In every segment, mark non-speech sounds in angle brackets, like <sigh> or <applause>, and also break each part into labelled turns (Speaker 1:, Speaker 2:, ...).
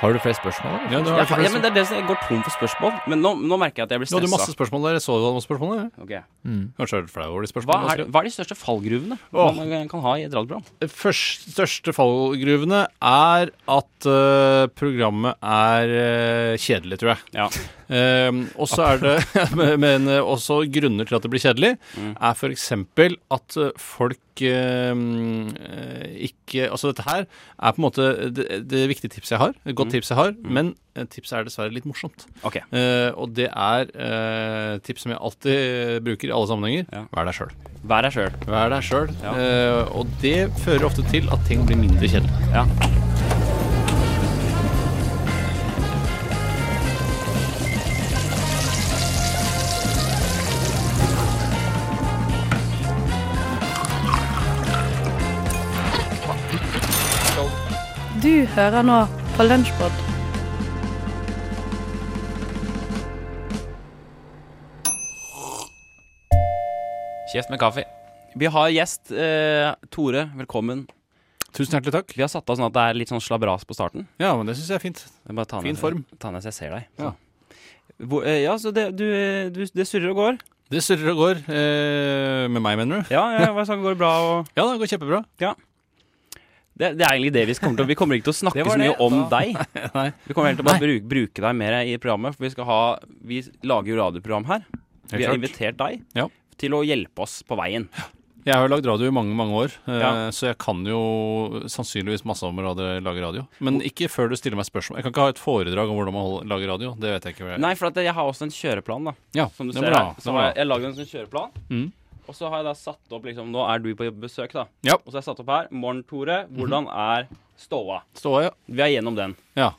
Speaker 1: Har du flere spørsmål? eller?
Speaker 2: Ja, du
Speaker 3: Ja,
Speaker 2: har
Speaker 3: ja, men det er det som jeg går tom for spørmål. Men nå, nå merker jeg at jeg blir
Speaker 2: du hadde masse
Speaker 3: stressa.
Speaker 2: spørsmål der. Jeg så du hadde masse spørsmål der.
Speaker 3: Ok.
Speaker 1: Mm.
Speaker 2: Kanskje er du flau over de
Speaker 3: Hva,
Speaker 2: spørsmålene?
Speaker 3: er, hva er de største fallgruvene
Speaker 2: Mm. Åh.
Speaker 3: man kan ha i et radioprogram?
Speaker 2: Det først, største fallgruvene er at eh, programmet er eh, kjedelig, tror jeg.
Speaker 3: Ja.
Speaker 2: Um, og så er det <laughs>
Speaker 3: <laughs>
Speaker 2: Men eh, også grunner til at det blir kjedelig,
Speaker 3: Mm.
Speaker 2: er f.eks. at eh, folk eh, eh, ikke Altså, dette her er på en måte det, det viktige tipset jeg har. Et godt tips jeg har. Men eh, tipset er dessverre litt morsomt.
Speaker 3: Mm. Ok.
Speaker 2: Eh, og det er eh, tips som jeg alltid eh, bruker i alle sammenhenger.
Speaker 3: Ja.
Speaker 2: Vær deg sjøl.
Speaker 3: Vær deg sjøl.
Speaker 2: Vær deg sjøl.
Speaker 3: Ja.
Speaker 2: Eh, og det fører ofte til at ting blir mindre kjedelig.
Speaker 3: Ja.
Speaker 4: Du hører nå på Lunsjpod.
Speaker 3: Kjeft med kaffe. Vi har gjest. Eh, Tore, velkommen.
Speaker 2: Tusen hjertelig takk.
Speaker 3: Vi har satt av sånn at det er litt sånn slabras på starten.
Speaker 2: Ja, men det syns jeg er fint.
Speaker 3: Jeg Bare ta
Speaker 2: Fin
Speaker 3: ned,
Speaker 2: form.
Speaker 3: Ta ned så jeg ser deg.
Speaker 2: Ja.
Speaker 3: Hvor, eh, ja, så det, du, eh, du, det surrer og går.
Speaker 2: Det surrer og går. eh, med meg, mener du?
Speaker 3: Ja, ja hva sa du, går det bra og
Speaker 2: Ja, det går kjempebra.
Speaker 3: det, det er egentlig det vi kommer til å Vi kommer ikke til å snakke
Speaker 2: Det var
Speaker 3: så mye
Speaker 2: det,
Speaker 3: om
Speaker 2: da.
Speaker 3: deg.
Speaker 2: <laughs> Nei.
Speaker 3: Vi kommer helt til å bare bruke, bruke deg mer i programmet, for vi skal ha Vi lager jo radioprogram her. Vi har
Speaker 2: klart.
Speaker 3: invitert deg
Speaker 2: Ja.
Speaker 3: til å hjelpe oss på veien.
Speaker 2: Jeg har jo lagd radio i mange mange år, eh,
Speaker 3: Ja.
Speaker 2: så jeg kan jo sannsynligvis masse om å radi- lage radio. Men ikke før du stiller meg spørsmål. Jeg kan ikke ha et foredrag om hvordan man hold- lager radio. Det vet jeg ikke. hva jeg-
Speaker 3: Nei, for at jeg har også en kjøreplan, da.
Speaker 2: ja,
Speaker 3: Som du
Speaker 2: det må
Speaker 3: ser
Speaker 2: du ha,
Speaker 3: her.
Speaker 2: det
Speaker 3: Så
Speaker 2: må du
Speaker 3: har
Speaker 2: ha.
Speaker 3: jeg, jeg lagd en sånn kjøreplan.
Speaker 2: Mm.
Speaker 3: Og så har jeg da satt opp liksom Nå er du på besøk, da.
Speaker 2: Ja.
Speaker 3: Og så har jeg satt opp her. Morgen, Tore. Hvordan er ståa?
Speaker 2: Stå, ja.
Speaker 3: Vi er gjennom den.
Speaker 2: ja.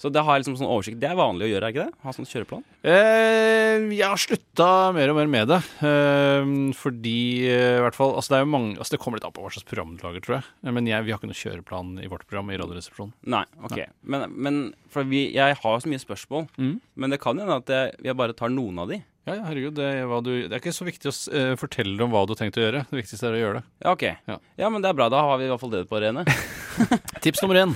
Speaker 3: Så det har jeg liksom sånn oversikt. Det er vanlig å gjøre, er ikke det? Ha sånn kjøreplan.
Speaker 2: Eh, jeg har slutta mer og mer med det. Eh, fordi eh, i hvert fall Altså, det, er jo mange, altså, det kommer litt an på hva slags program du lager, tror jeg. Eh, Men jeg, vi har ikke noe kjøreplan i vårt program i Radioresepsjonen.
Speaker 3: Nei, ok. Men, men for vi, jeg har jo så mye spørsmål.
Speaker 2: Mm.
Speaker 3: Men det kan hende at jeg, jeg bare tar noen av de.
Speaker 2: Ja, ja, herregud, det, er hva du, det er ikke så viktig å s- eh, fortelle om hva du har tenkt å gjøre. Det viktigste er å gjøre det.
Speaker 3: Ja, ok.
Speaker 2: Ja.
Speaker 3: Ja. men det er bra. Da har vi i hvert fall det på det rene.
Speaker 2: <laughs> Tips nummer
Speaker 3: <laughs>
Speaker 2: én.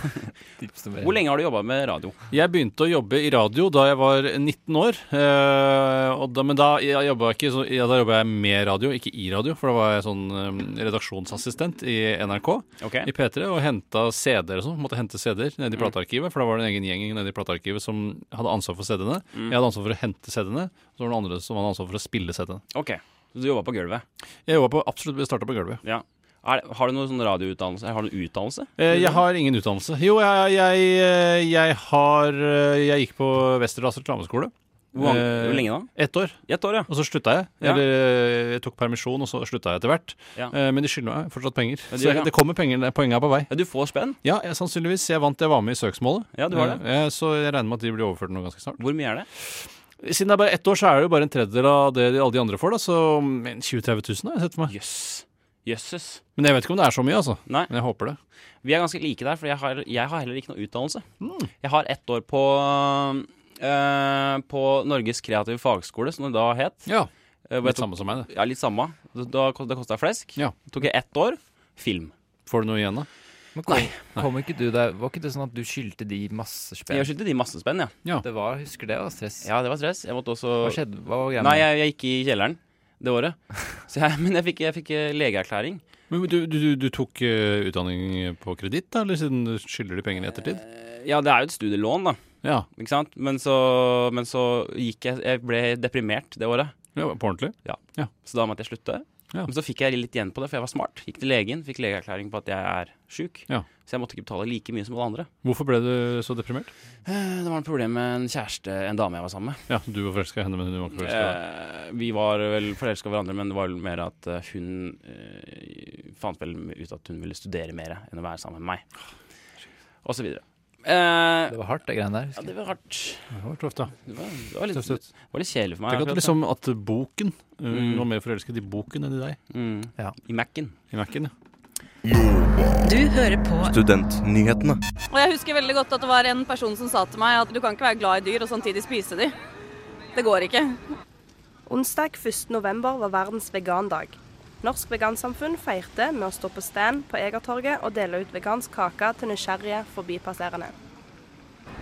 Speaker 3: Hvor lenge har du jobba med radio?
Speaker 2: Jeg begynte å jobbe i radio da jeg var 19 år. eh, og da, men da jeg jobba jeg, ikke så- ja, da jobbet jeg med radio, ikke i radio. For da var jeg sånn eh, redaksjonsassistent i NRK,
Speaker 3: Ok.
Speaker 2: i P3, og henta CD-er og sånn. Måtte hente CD-er nede i
Speaker 3: Mm.
Speaker 2: platearkivet, for da var det en egen gjeng nede i platearkivet som hadde ansvar for CD-ene.
Speaker 3: Mm.
Speaker 2: Jeg hadde ansvar for å hente CD-ene, og så var det noen andre som hadde ansvar for å spille CD-ene.
Speaker 3: Ok, Så du jobba på gulvet?
Speaker 2: Jeg jobba på absolutt starta på gulvet.
Speaker 3: Ja. Er, har du noen sånn radioutdannelse? Har du noen utdannelse?
Speaker 2: Eh, Jeg har ingen utdannelse. Jo, jeg, jeg, eh, jeg har eh, Jeg gikk på Westerdals reklameskole.
Speaker 3: Hvor, mange,
Speaker 2: Eh,
Speaker 3: hvor lenge da?
Speaker 2: Ett år.
Speaker 3: I ett år, ja.
Speaker 2: Og så slutta jeg.
Speaker 3: Ja.
Speaker 2: Eller eh, jeg tok permisjon, og så slutta jeg etter hvert.
Speaker 3: Ja.
Speaker 2: Eh, Men de skylder meg fortsatt penger.
Speaker 3: Ja, de
Speaker 2: så
Speaker 3: gjør det.
Speaker 2: jeg, det kommer penger. det- Poenget er på vei.
Speaker 3: ja. Du får spenn.
Speaker 2: Ja, jeg, sannsynligvis. Jeg vant. Jeg var med i søksmålet.
Speaker 3: Ja, du var det.
Speaker 2: Eh, eh, Så jeg regner med at de blir overført nå ganske snart.
Speaker 3: Hvor mye er det?
Speaker 2: Siden det er bare ett år, så er det jo bare en tredjedel av det de- alle de andre får. da Så mm, 20 000-30 000 har jeg sett for meg.
Speaker 3: Jøss. Jøsses.
Speaker 2: Men jeg vet ikke om det er så mye, altså.
Speaker 3: Nei.
Speaker 2: Men jeg håper det.
Speaker 3: Vi er ganske like der, for jeg har, jeg har heller ikke noe utdannelse.
Speaker 2: Mm.
Speaker 3: Jeg har ett år på eh, på Norges kreative fagskole, som det da het.
Speaker 2: Ja,
Speaker 3: Eh, hvor jeg
Speaker 2: Litt
Speaker 3: tok-
Speaker 2: samme som meg, det.
Speaker 3: Ja, litt samme. Da, da, det kosta flesk.
Speaker 2: Ja.
Speaker 3: Tok jeg ett år. Film.
Speaker 2: Får du noe igjen, da?
Speaker 1: Men kom, kom ikke du der Var ikke det sånn at du skyldte de masse spenn?
Speaker 3: Jeg skyldte de masse spenn, ja.
Speaker 1: Det var, husker det var stress.
Speaker 3: Ja, det var stress. Jeg måtte også
Speaker 1: Hva skjedde? Hva var greia
Speaker 3: Nei, jeg, jeg gikk i kjelleren
Speaker 1: <laughs>
Speaker 3: det året. Så jeg, men jeg fikk, jeg fikk eh, legeerklæring.
Speaker 2: Men du, du, du- du tok eh, utdanning på kreditt, da? Eller siden du skylder de pengene i ettertid?
Speaker 3: Eh, Ja, det er jo et studielån, da.
Speaker 2: Ja,
Speaker 3: Ikke sant? Men så, men så gikk jeg Jeg ble deprimert det året,
Speaker 2: ja på ordentlig?
Speaker 3: så da måtte jeg slutte.
Speaker 2: Ja.
Speaker 3: Men så fikk jeg litt igjen på det, for jeg var smart. Gikk til legen, fikk legeerklæring på at jeg er sjuk.
Speaker 2: Ja.
Speaker 3: Så jeg måtte ikke betale like mye som alle andre.
Speaker 2: Hvorfor ble du så deprimert?
Speaker 3: Eh, Det var et problem med en kjæreste, en dame jeg var sammen med.
Speaker 2: Ja, du var forelska i henne, men hun var ikke forelska i deg.
Speaker 3: Eh, vi var vel forelska i hverandre, men det var vel mer at eh, hun eh, fant vel ut at hun ville studere mer enn å være sammen med meg. Og så videre. Eh,
Speaker 1: Det var hardt, det greiene der.
Speaker 3: ja,
Speaker 1: Husker jeg.
Speaker 3: det var hardt.
Speaker 2: Det var tøft, da.
Speaker 3: Det var, det var, litt,
Speaker 2: Tøft ut.
Speaker 3: det var litt kjedelig for meg.
Speaker 2: Tenk at,
Speaker 3: akkurat det.
Speaker 2: liksom, at boken eh, Hun
Speaker 3: Mm.
Speaker 2: var mer forelsket i boken enn i deg.
Speaker 3: mm,
Speaker 1: Ja.
Speaker 3: I Mac-en.
Speaker 2: I Mac-en, ja.
Speaker 5: Du hører på
Speaker 2: liksom-
Speaker 6: Studentnyhetene.
Speaker 7: Og jeg husker veldig godt at det var en person som sa til meg at du kan ikke være glad i dyr og samtidig spise de. Det går ikke.
Speaker 8: Onsdag 1. november var verdens vegandag. Norsk Vegansamfunn feirte med å stå på stand på Egertorget og dele ut vegansk kake til nysgjerrige forbipasserende.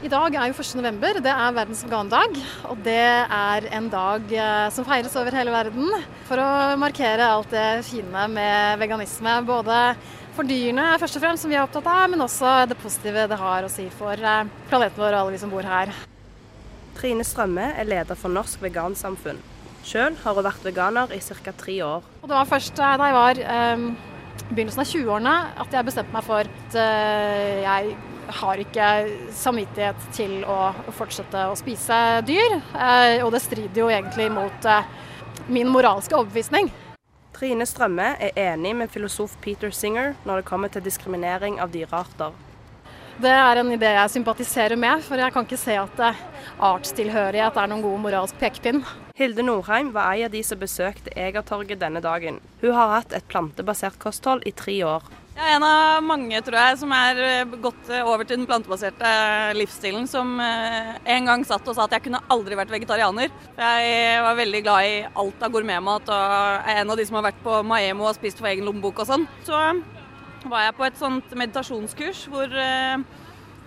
Speaker 9: I dag er jo 1. november, det er verdens vegandag. Og det er en dag eh, som feires over hele verden for å markere alt det fine med veganisme. Både for dyrene først og fremst, som vi er opptatt av, men også det positive det har å si for eh, planeten vår og alle vi som bor her.
Speaker 8: Trine Strømme er leder for Norsk Vegansamfunn. Sjøl har hun vært veganer i ca. tre år.
Speaker 9: Og det var først eh, da jeg var eh, i begynnelsen av 20-årene at jeg bestemte meg for at eh, jeg har ikke samvittighet til å fortsette å spise dyr. eh, og det strider jo egentlig mot eh, min moralske overbevisning.
Speaker 8: Trine Strømme er enig med filosof Peter Singer når det kommer til diskriminering av dyrearter.
Speaker 9: Det er en idé jeg sympatiserer med, for jeg kan ikke se at eh, artstilhørighet er noen god moralsk pekepinn.
Speaker 8: Hilde Norheim var ei av de som besøkte Egertorget denne dagen. Hun har hatt et plantebasert kosthold i tre år.
Speaker 7: Jeg er en av mange, tror jeg, som er eh, gått eh, over til den plantebaserte livsstilen, som eh, en gang satt og sa at jeg kunne aldri vært vegetarianer. Jeg var veldig glad i alt av gourmetmat, og er en av de som har vært på Maemo og spist for egen lommebok og sånn. Så var jeg på et sånt meditasjonskurs hvor eh,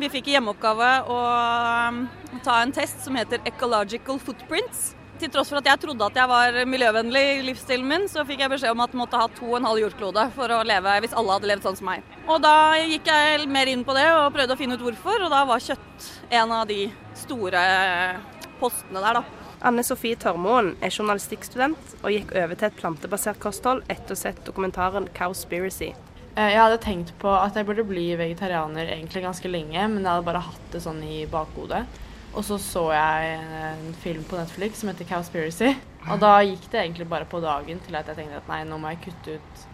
Speaker 7: vi fikk i hjemmeoppgave å eh, ta en test som heter Ecological Footprints. Til tross for at jeg trodde at jeg var miljøvennlig i livsstilen min, så fikk jeg beskjed om at jeg måtte ha to og en halv jordklode for å leve hvis alle hadde levd sånn som meg. Og da gikk jeg mer inn på det og prøvde å finne ut hvorfor, og da var kjøtt en av de store postene der, da.
Speaker 8: Anne Sofie Tørmoen er journalistikkstudent og gikk over til et plantebasert kosthold etter å ha sett dokumentaren Cowspiracy.
Speaker 10: Eh, Jeg hadde tenkt på at jeg burde bli vegetarianer egentlig ganske lenge, men jeg hadde bare hatt det sånn i bakhodet. Og så så jeg eh, en film på Netflix som heter Cowspiracy. Og da gikk det egentlig bare på dagen til at jeg tenkte at nei, nå må jeg kutte ut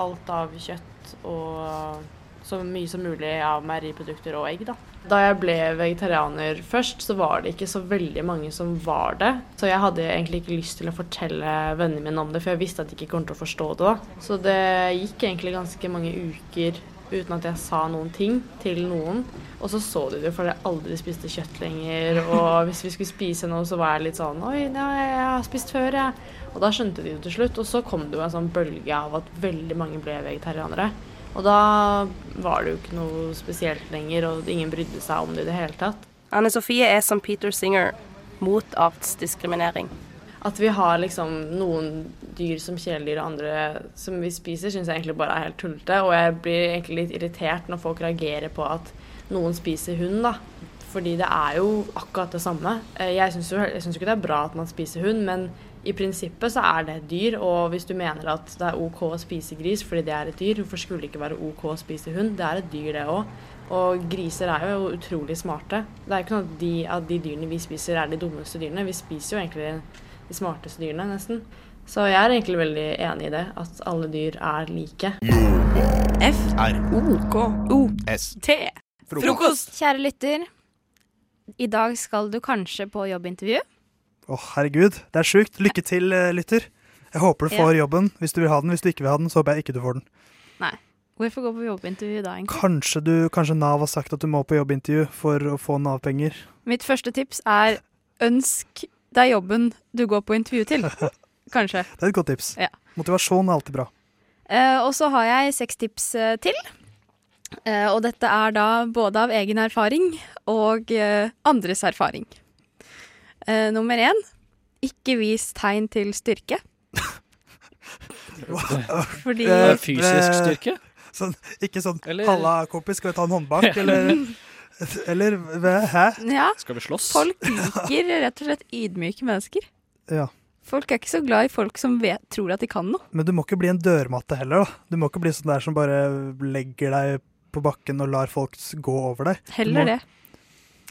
Speaker 10: alt av kjøtt og så mye som mulig av meieriprodukter og egg, da. Da jeg ble vegetarianer først, så var det ikke så veldig mange som var det. Så jeg hadde egentlig ikke lyst til å fortelle vennene mine om det, for jeg visste at de ikke kom til å forstå det. da. Så det gikk egentlig ganske mange uker uten at jeg sa noen ting til noen. Og så så de det, for jeg aldri spiste kjøtt lenger. Og hvis vi skulle spise noe, så var jeg litt sånn Oi, ja, jeg har spist før, jeg. Og da skjønte de det til slutt. Og så kom det jo en sånn bølge av at veldig mange ble vegetarianere. Og da var det jo ikke noe spesielt lenger, og ingen brydde seg om det i det hele tatt.
Speaker 8: Anne Sofie er som Peter Singer, mot artsdiskriminering.
Speaker 10: At vi har liksom noen dyr som kjæledyr og andre som vi spiser, syns jeg egentlig bare er helt tullete. Og jeg blir egentlig litt irritert når folk reagerer på at noen spiser hund, da. Fordi det er jo akkurat det samme. Eh, Jeg syns jo jeg synes jo ikke det er bra at man spiser hund, men i prinsippet så er det et dyr. Og hvis du mener at det er OK å spise gris fordi det er et dyr, hvorfor skulle det ikke være OK å spise hund? Det er et dyr, det òg. Og griser er jo utrolig smarte. Det er jo ikke noe at de, at de dyrene vi spiser, er de dummeste dyrene. Vi spiser jo egentlig de smarteste dyrene, nesten. Så jeg er egentlig veldig enig i det, at alle dyr er like.
Speaker 11: F-R-O-K-O-S-T. Frokost!
Speaker 12: Kjære lytter. I dag skal du kanskje på jobbintervju.
Speaker 13: Å, herregud. Det er sjukt. Lykke til, eh, lytter. Jeg håper du får
Speaker 12: Ja.
Speaker 13: jobben hvis du vil ha den. Hvis du ikke vil ha den, så håper jeg ikke du får den.
Speaker 12: Nei. Hvorfor gå på jobbintervju da, egentlig?
Speaker 13: Kanskje, du, kanskje Nav har sagt at du må på jobbintervju for å få Nav-penger.
Speaker 11: Mitt første tips er ønsk deg jobben du går på intervju til.
Speaker 13: <laughs>
Speaker 11: Kanskje.
Speaker 13: Det er et godt tips.
Speaker 11: Ja.
Speaker 13: Motivasjon er alltid bra.
Speaker 11: Eh, og så har jeg seks tips eh, til. Eh, og dette er da både av egen erfaring og eh, andres erfaring. Eh, nummer én ikke vis tegn til styrke. Fordi
Speaker 13: Eh, eh, Sånn, ikke sånn
Speaker 11: Eller-
Speaker 13: 'halla, kompis, skal vi ta en <laughs> håndbank', eller, eller hva- Hæ?
Speaker 11: ja,
Speaker 13: Skal vi slåss? <laughs>
Speaker 11: Folk liker rett og slett ydmyke mennesker.
Speaker 13: Ja.
Speaker 11: Folk er ikke så glad i folk som vet, tror at de kan noe.
Speaker 13: Men du må ikke bli en dørmatte heller, da. Du må ikke bli sånn der som bare legger deg på bakken og lar folk s- gå over deg. Du
Speaker 11: Heller
Speaker 13: må,
Speaker 11: det.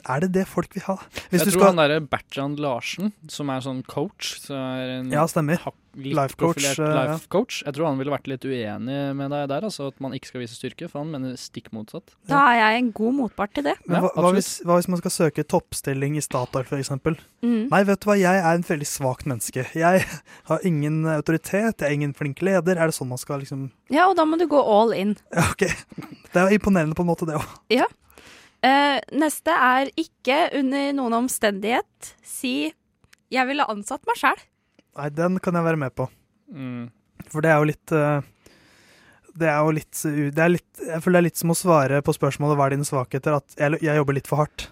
Speaker 13: Er det det folk vil ha?
Speaker 6: jeg
Speaker 13: Hvis du
Speaker 6: tror
Speaker 13: skal
Speaker 6: han derre Bertrand Larsen, som er sånn coach som er en
Speaker 13: Ja, stemmer.
Speaker 6: hak- litt
Speaker 13: Life coach,
Speaker 6: profilert
Speaker 13: eh, ja.
Speaker 6: life coach. Jeg tror han ville vært litt uenig med deg der, altså at man ikke skal vise styrke, for han mener stikk motsatt.
Speaker 11: Da er jeg en god motpart til det.
Speaker 13: Men hva, hva, hvis, hva hvis man skal søke toppstilling i Statoil f.eks.?
Speaker 11: Mm.
Speaker 13: Nei, vet du hva, jeg er en veldig svakt menneske. Jeg <laughs> har ingen autoritet, jeg er ingen flink leder. Er det sånn man skal liksom
Speaker 11: Ja, og da må du gå all in.
Speaker 13: Det er jo imponerende på en måte, det òg.
Speaker 11: Ja. Eh, neste er ikke under noen omstendighet si 'jeg ville ansatt meg sjæl'.
Speaker 13: Nei, den kan jeg være med på.
Speaker 6: Mm.
Speaker 13: For det er jo litt eh, Det er jo litt, eh, u- det er litt Jeg føler det er litt som å svare på spørsmålet 'Hva er dine svakheter?' at jeg, jeg jobber litt for hardt.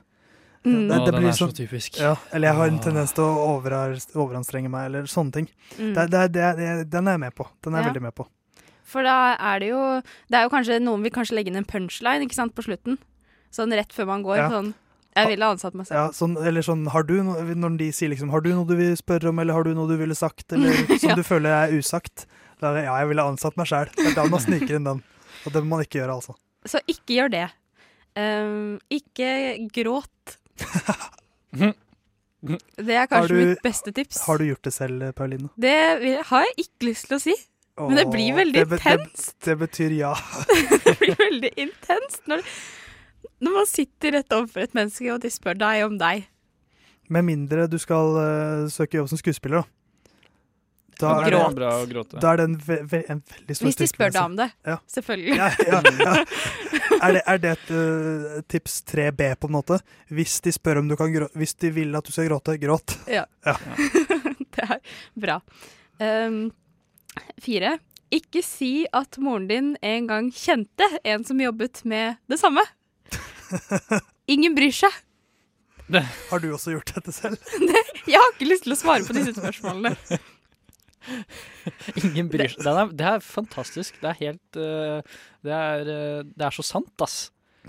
Speaker 6: Mm. Å, den
Speaker 13: blir
Speaker 6: er så
Speaker 13: sånn-
Speaker 6: typisk.
Speaker 13: Ja, eller jeg har en
Speaker 6: Åh.
Speaker 13: tendens til å over, overanstrenge meg, eller sånne ting.
Speaker 11: Mm.
Speaker 13: Det, det, det, det, den er jeg med på. Den er jeg
Speaker 11: Ja.
Speaker 13: veldig med på.
Speaker 11: For da er det jo Det er jo kanskje noen vil kanskje legge inn en punchline ikke sant, på slutten. Sånn rett før man går.
Speaker 13: Ja.
Speaker 11: Sånn 'jeg ville ansatt meg
Speaker 13: Ja,
Speaker 11: selv'.
Speaker 13: sånn, eller sånn, har du noe, når de sier liksom 'Har du noe du vil spørre om', eller 'Har du noe du ville
Speaker 11: <laughs>
Speaker 13: sagt', eller som du føler er usagt. Da er det 'Ja, jeg ville ansatt meg sjæl'. Det er da man sniker inn den. Og det må man ikke gjøre, altså.
Speaker 11: Så ikke gjør det. Eh, ikke gråt. Det er
Speaker 13: Har
Speaker 11: kanskje mitt beste tips.
Speaker 13: Har du gjort det selv, Pauline?
Speaker 11: Det vil- har jeg ikke lyst til å si, men det blir
Speaker 13: Åh,
Speaker 11: veldig
Speaker 13: be-
Speaker 11: intenst.
Speaker 13: Det, det betyr ja. <laughs>
Speaker 11: veldig intenst når, når man sitter rett overfor et menneske og de spør deg om deg.
Speaker 13: Med mindre du skal eh, søke jobb som skuespiller, da. Da
Speaker 6: Ja,
Speaker 13: er,
Speaker 6: det er
Speaker 13: det,
Speaker 6: bra å gråte.
Speaker 13: da er det en, ve ve en veldig stor
Speaker 11: Hvis de spør deg om det,
Speaker 13: Ja.
Speaker 11: selvfølgelig.
Speaker 13: Ja, ja, ja.
Speaker 11: <laughs>
Speaker 13: Er, det, er det et eh, tips 3B, på en måte? Hvis de spør om du kan grå Hvis de vil at du skal gråte, gråt.
Speaker 11: Ja.
Speaker 13: Ja.
Speaker 11: det er bra. Ehm, fire. Ikke si at moren din en gang kjente en som jobbet med det
Speaker 13: <laughs>
Speaker 11: samme. Ingen bryr seg.
Speaker 13: Har du også gjort dette selv?
Speaker 11: Jeg har ikke lyst til å svare på disse spørsmålene.
Speaker 6: Ingen bryr seg. Den er, det er fantastisk. Det er helt eh, det, er, eh, det er så sant, ass.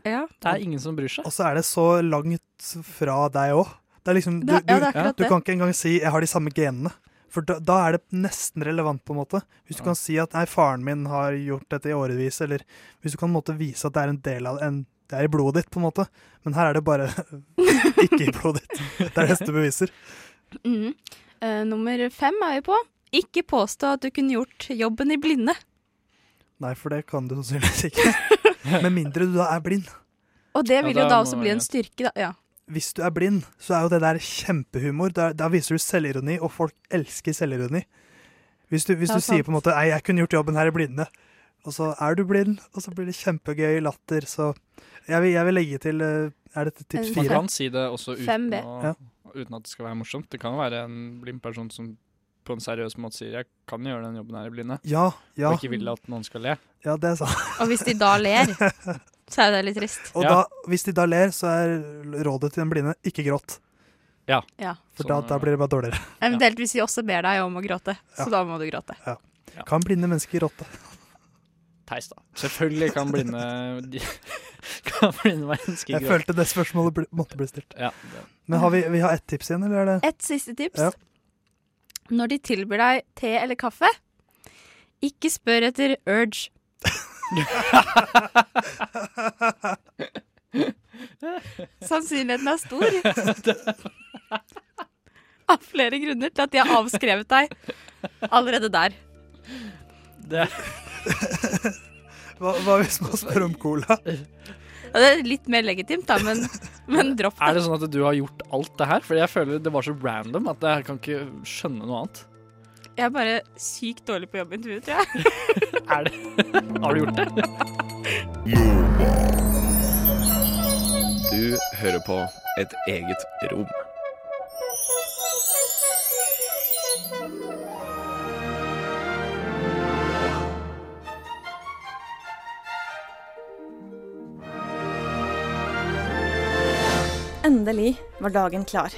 Speaker 6: Det er ingen som bryr seg.
Speaker 13: Og så er det så langt fra deg òg. Det er liksom, du,
Speaker 6: Det er-
Speaker 13: du,
Speaker 6: ja, det er akkurat
Speaker 13: du
Speaker 6: det.
Speaker 13: kan ikke engang si 'jeg har de samme genene'. For da, da er det nesten relevant, på en måte. Hvis du kan si at 'nei, faren min har gjort dette i årevis', eller hvis du kan på en måte vise at det er en del av en, det er i blodet ditt, på en måte. Men her er det bare <laughs> ikke i blodet ditt. Det
Speaker 6: <laughs>
Speaker 13: er neste beviser.
Speaker 11: Mm. Eh, nummer fem er vi på. Ikke påstå at du kunne gjort jobben i blinde.
Speaker 13: Nei, for det kan du sannsynligvis ikke.
Speaker 6: <laughs>
Speaker 13: Med mindre du da er blind.
Speaker 11: Og det
Speaker 13: Ja,
Speaker 11: vil
Speaker 13: da
Speaker 11: jo da
Speaker 13: må
Speaker 11: også
Speaker 13: man
Speaker 11: bli en
Speaker 13: gjøre.
Speaker 11: styrke, da. Ja.
Speaker 13: Hvis du er blind, så er jo det der kjempehumor. Da, da viser du selvironi, og folk elsker selvironi. Hvis du, hvis
Speaker 11: Ja,
Speaker 13: du sier
Speaker 11: sant.
Speaker 13: på en måte 'Nei, jeg kunne gjort jobben her i blinde', og så er du blind, og så blir det kjempegøy latter, så jeg vil, jeg vil legge til eh, Er dette tips
Speaker 6: Man
Speaker 13: fire?
Speaker 6: kan si det også uten,
Speaker 11: 5B.
Speaker 6: å,
Speaker 13: Ja.
Speaker 6: uten at det skal være morsomt. Det kan jo være en blind person som på en seriøs måte sier 'jeg kan gjøre den jobben her i blinde',
Speaker 13: Ja, ja.
Speaker 6: og ikke vil at noen skal le.
Speaker 13: Ja, det er sant. <laughs>
Speaker 11: Og hvis de da ler, så er jo det litt trist.
Speaker 13: Og da, hvis de da ler, så er rådet til den blinde 'ikke gråt'.
Speaker 6: Ja. Sånn
Speaker 11: Ja.
Speaker 13: For da, da blir det bare dårligere.
Speaker 11: Eventuelt hvis de også ber deg om å gråte, så
Speaker 13: Ja.
Speaker 11: da må du gråte.
Speaker 13: Kan blinde mennesker gråte?
Speaker 6: Theis, da. Selvfølgelig kan blinde de, <laughs> Kan blinde mennesker
Speaker 13: Jeg
Speaker 6: gråte.
Speaker 13: følte det spørsmålet bli, måtte bli stilt.
Speaker 6: Ja,
Speaker 13: Men har vi, vi har ett tips igjen, eller er det
Speaker 11: Et siste tips.
Speaker 13: Ja.
Speaker 11: Når de tilbyr deg te eller kaffe, ikke spør etter
Speaker 13: <laughs>
Speaker 11: urge. Sannsynligheten er
Speaker 13: <laughs>
Speaker 11: stor. Av flere grunner til at de har avskrevet deg allerede der.
Speaker 13: <laughs> hva, hva hvis man spør om
Speaker 6: <laughs>
Speaker 13: cola?
Speaker 11: Ja, det er litt mer legitimt, da, men, men dropp
Speaker 6: Er det sånn at du har gjort alt det her? Fordi jeg føler det var så random at jeg kan ikke skjønne noe annet.
Speaker 11: Jeg er bare sykt dårlig på jobbintervju, tror jeg.
Speaker 6: <laughs> Er det? <laughs> Har du gjort det?
Speaker 14: Du hører på et eget rom.
Speaker 15: Endelig var dagen klar.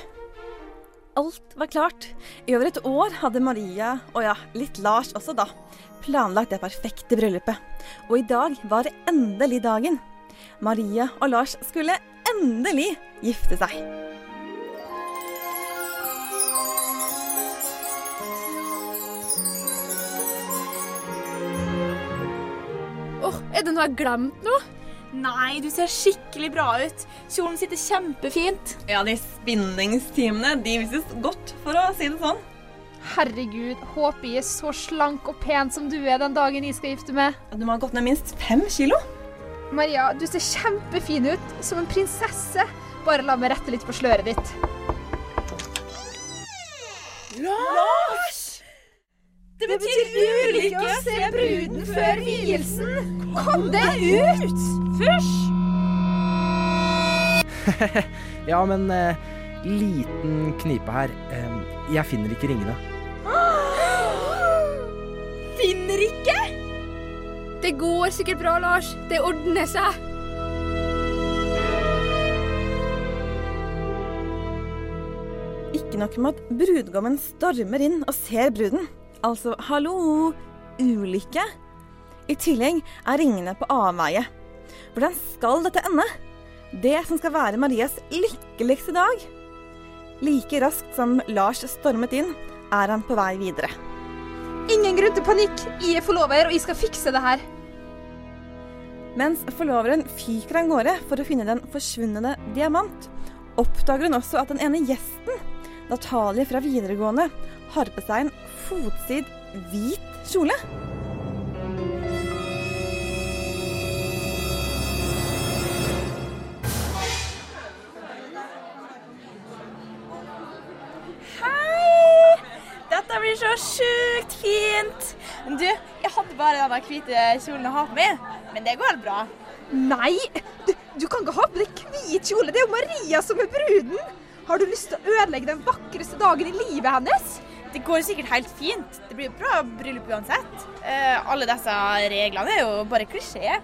Speaker 15: Alt var klart. I over et år hadde Maria, og ja, litt Lars også da, planlagt det perfekte bryllupet. Og i dag var endelig dagen. Maria og Lars skulle endelig gifte seg.
Speaker 9: Åh, er det noe jeg har glemt nå?
Speaker 16: Nei, du ser skikkelig bra ut. Kjolen sitter kjempefint.
Speaker 17: Ja, de spinningstimene, de vises godt, for å si det sånn.
Speaker 18: Herregud, håper jeg er så slank og pen som du er den dagen jeg skal gifte meg.
Speaker 17: Du må ha gått ned minst fem kilo.
Speaker 18: Maria, du ser kjempefin ut. Som en prinsesse. Bare la meg rette litt på sløret ditt.
Speaker 16: Lars! Det betyr ulykke å se bruden før vielsen. Kom deg ut! Fysj!
Speaker 19: <laughs> ja, men eh, liten knipe her. Eh, jeg finner ikke ringene.
Speaker 16: Finner ikke?
Speaker 12: Det går sikkert bra, Lars. Det ordner seg.
Speaker 15: Ikke nok med at brudgommen stormer inn og ser bruden. Altså, hallo, ulykke. I tillegg er ringene på avveie. Hvordan skal dette ende? Det som skal være Marias lykkeligste dag. Like raskt som Lars stormet inn, er han på vei videre.
Speaker 18: Ingen grunn til panikk. Jeg er forlover, og jeg skal fikse det her.
Speaker 15: Mens forloveren fyker av gårde for å finne den forsvunne diamant, oppdager hun også at den ene gjesten, Natalie fra videregående, har på seg en fotsid hvit kjole.
Speaker 16: Hei! Dette blir så sjukt fint. Du, jeg hadde bare den der hvite kjolen å ha på meg, men det går bra.
Speaker 18: Nei, du, du kan ikke ha på deg hvit kjole. Det er jo Maria som er bruden. Har du lyst til å ødelegge den vakreste dagen i livet hennes?
Speaker 16: Det går sikkert helt fint. Det blir jo bra bryllup uansett. Eh, alle disse reglene er jo bare klisjeer.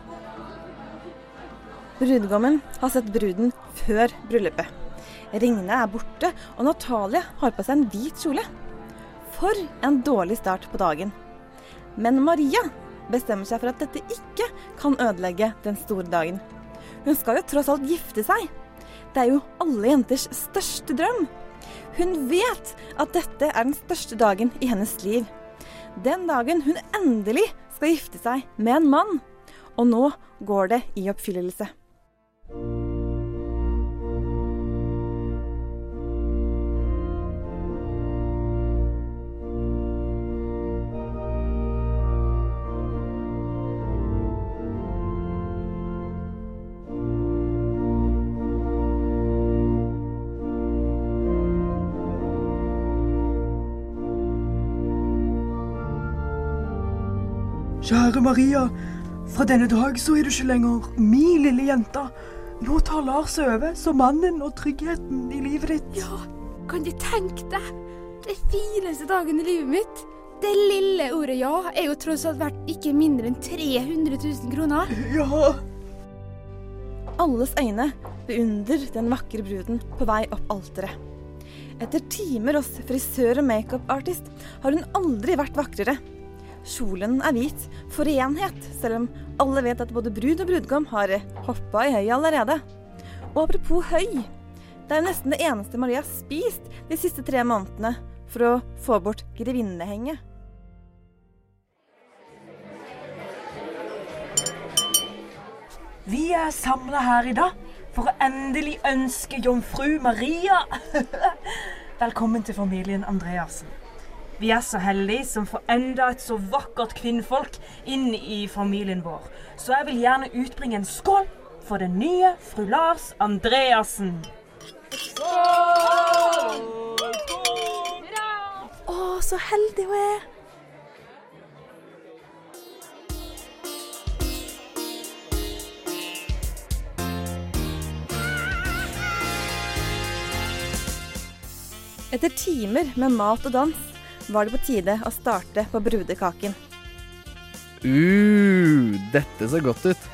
Speaker 15: Brudgommen har sett bruden før bryllupet. Ringene er borte, og Natalie har på seg en hvit kjole. For en dårlig start på dagen. Men Maria bestemmer seg for at dette ikke kan ødelegge den store dagen. Hun skal jo tross alt gifte seg. Det er jo alle jenters største drøm. Hun vet at dette er den største dagen i hennes liv. Den dagen hun endelig skal gifte seg med en mann. Og nå går det i oppfyllelse.
Speaker 20: Kjære Maria, fra denne dag så er du ikke lenger min lille jente. Nå tar Lars over som mannen og tryggheten i livet ditt.
Speaker 12: Ja, kan du tenke deg? Den fineste dagen i livet mitt. Det lille ordet ja er jo tross alt verdt ikke mindre enn 300 000 kroner.
Speaker 20: Ja.
Speaker 15: Alles øyne beundrer den vakre bruden på vei opp alteret. Etter timer hos frisør og makeupartist har hun aldri vært vakrere. Kjolen er hvit for renhet, selv om alle vet at både brud og brudgom har hoppa i høyet allerede. Og apropos høy. Det er jo nesten det eneste Maria har spist de siste tre månedene for å få bort grevinnehenget.
Speaker 20: Vi er samla her i dag for å endelig ønske jomfru Maria <laughs> velkommen til familien Andreassen. Vi er så heldige som får enda et så vakkert kvinnfolk inn i familien vår. Så jeg vil gjerne utbringe en skål for den nye fru Lars Andreassen.
Speaker 16: Skål!
Speaker 15: Å, så heldig hun er. Etter timer med mat og dans var det på tide å starte på brudekaken.
Speaker 19: Uh, dette så godt ut.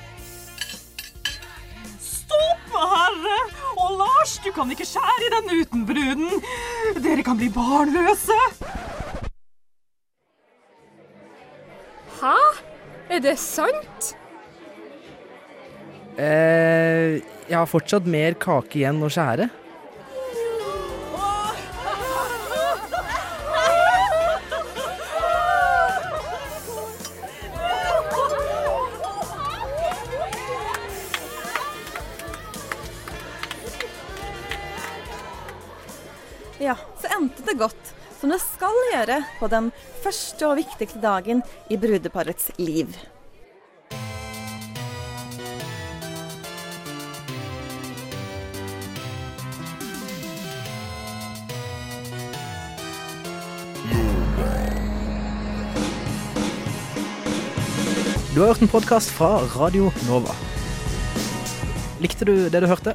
Speaker 20: Stopp, herre! Og Lars, du kan ikke skjære i den uten bruden. Dere kan bli barnløse.
Speaker 18: Hæ? Er det sant?
Speaker 19: Eh, jeg har fortsatt mer kake igjen å skjære.
Speaker 15: Ja, så endte det godt, som det skal gjøre på den første og viktigste dagen i brudeparets liv.
Speaker 19: Du har hørt en podkast fra Radio Nova. Likte du det du hørte?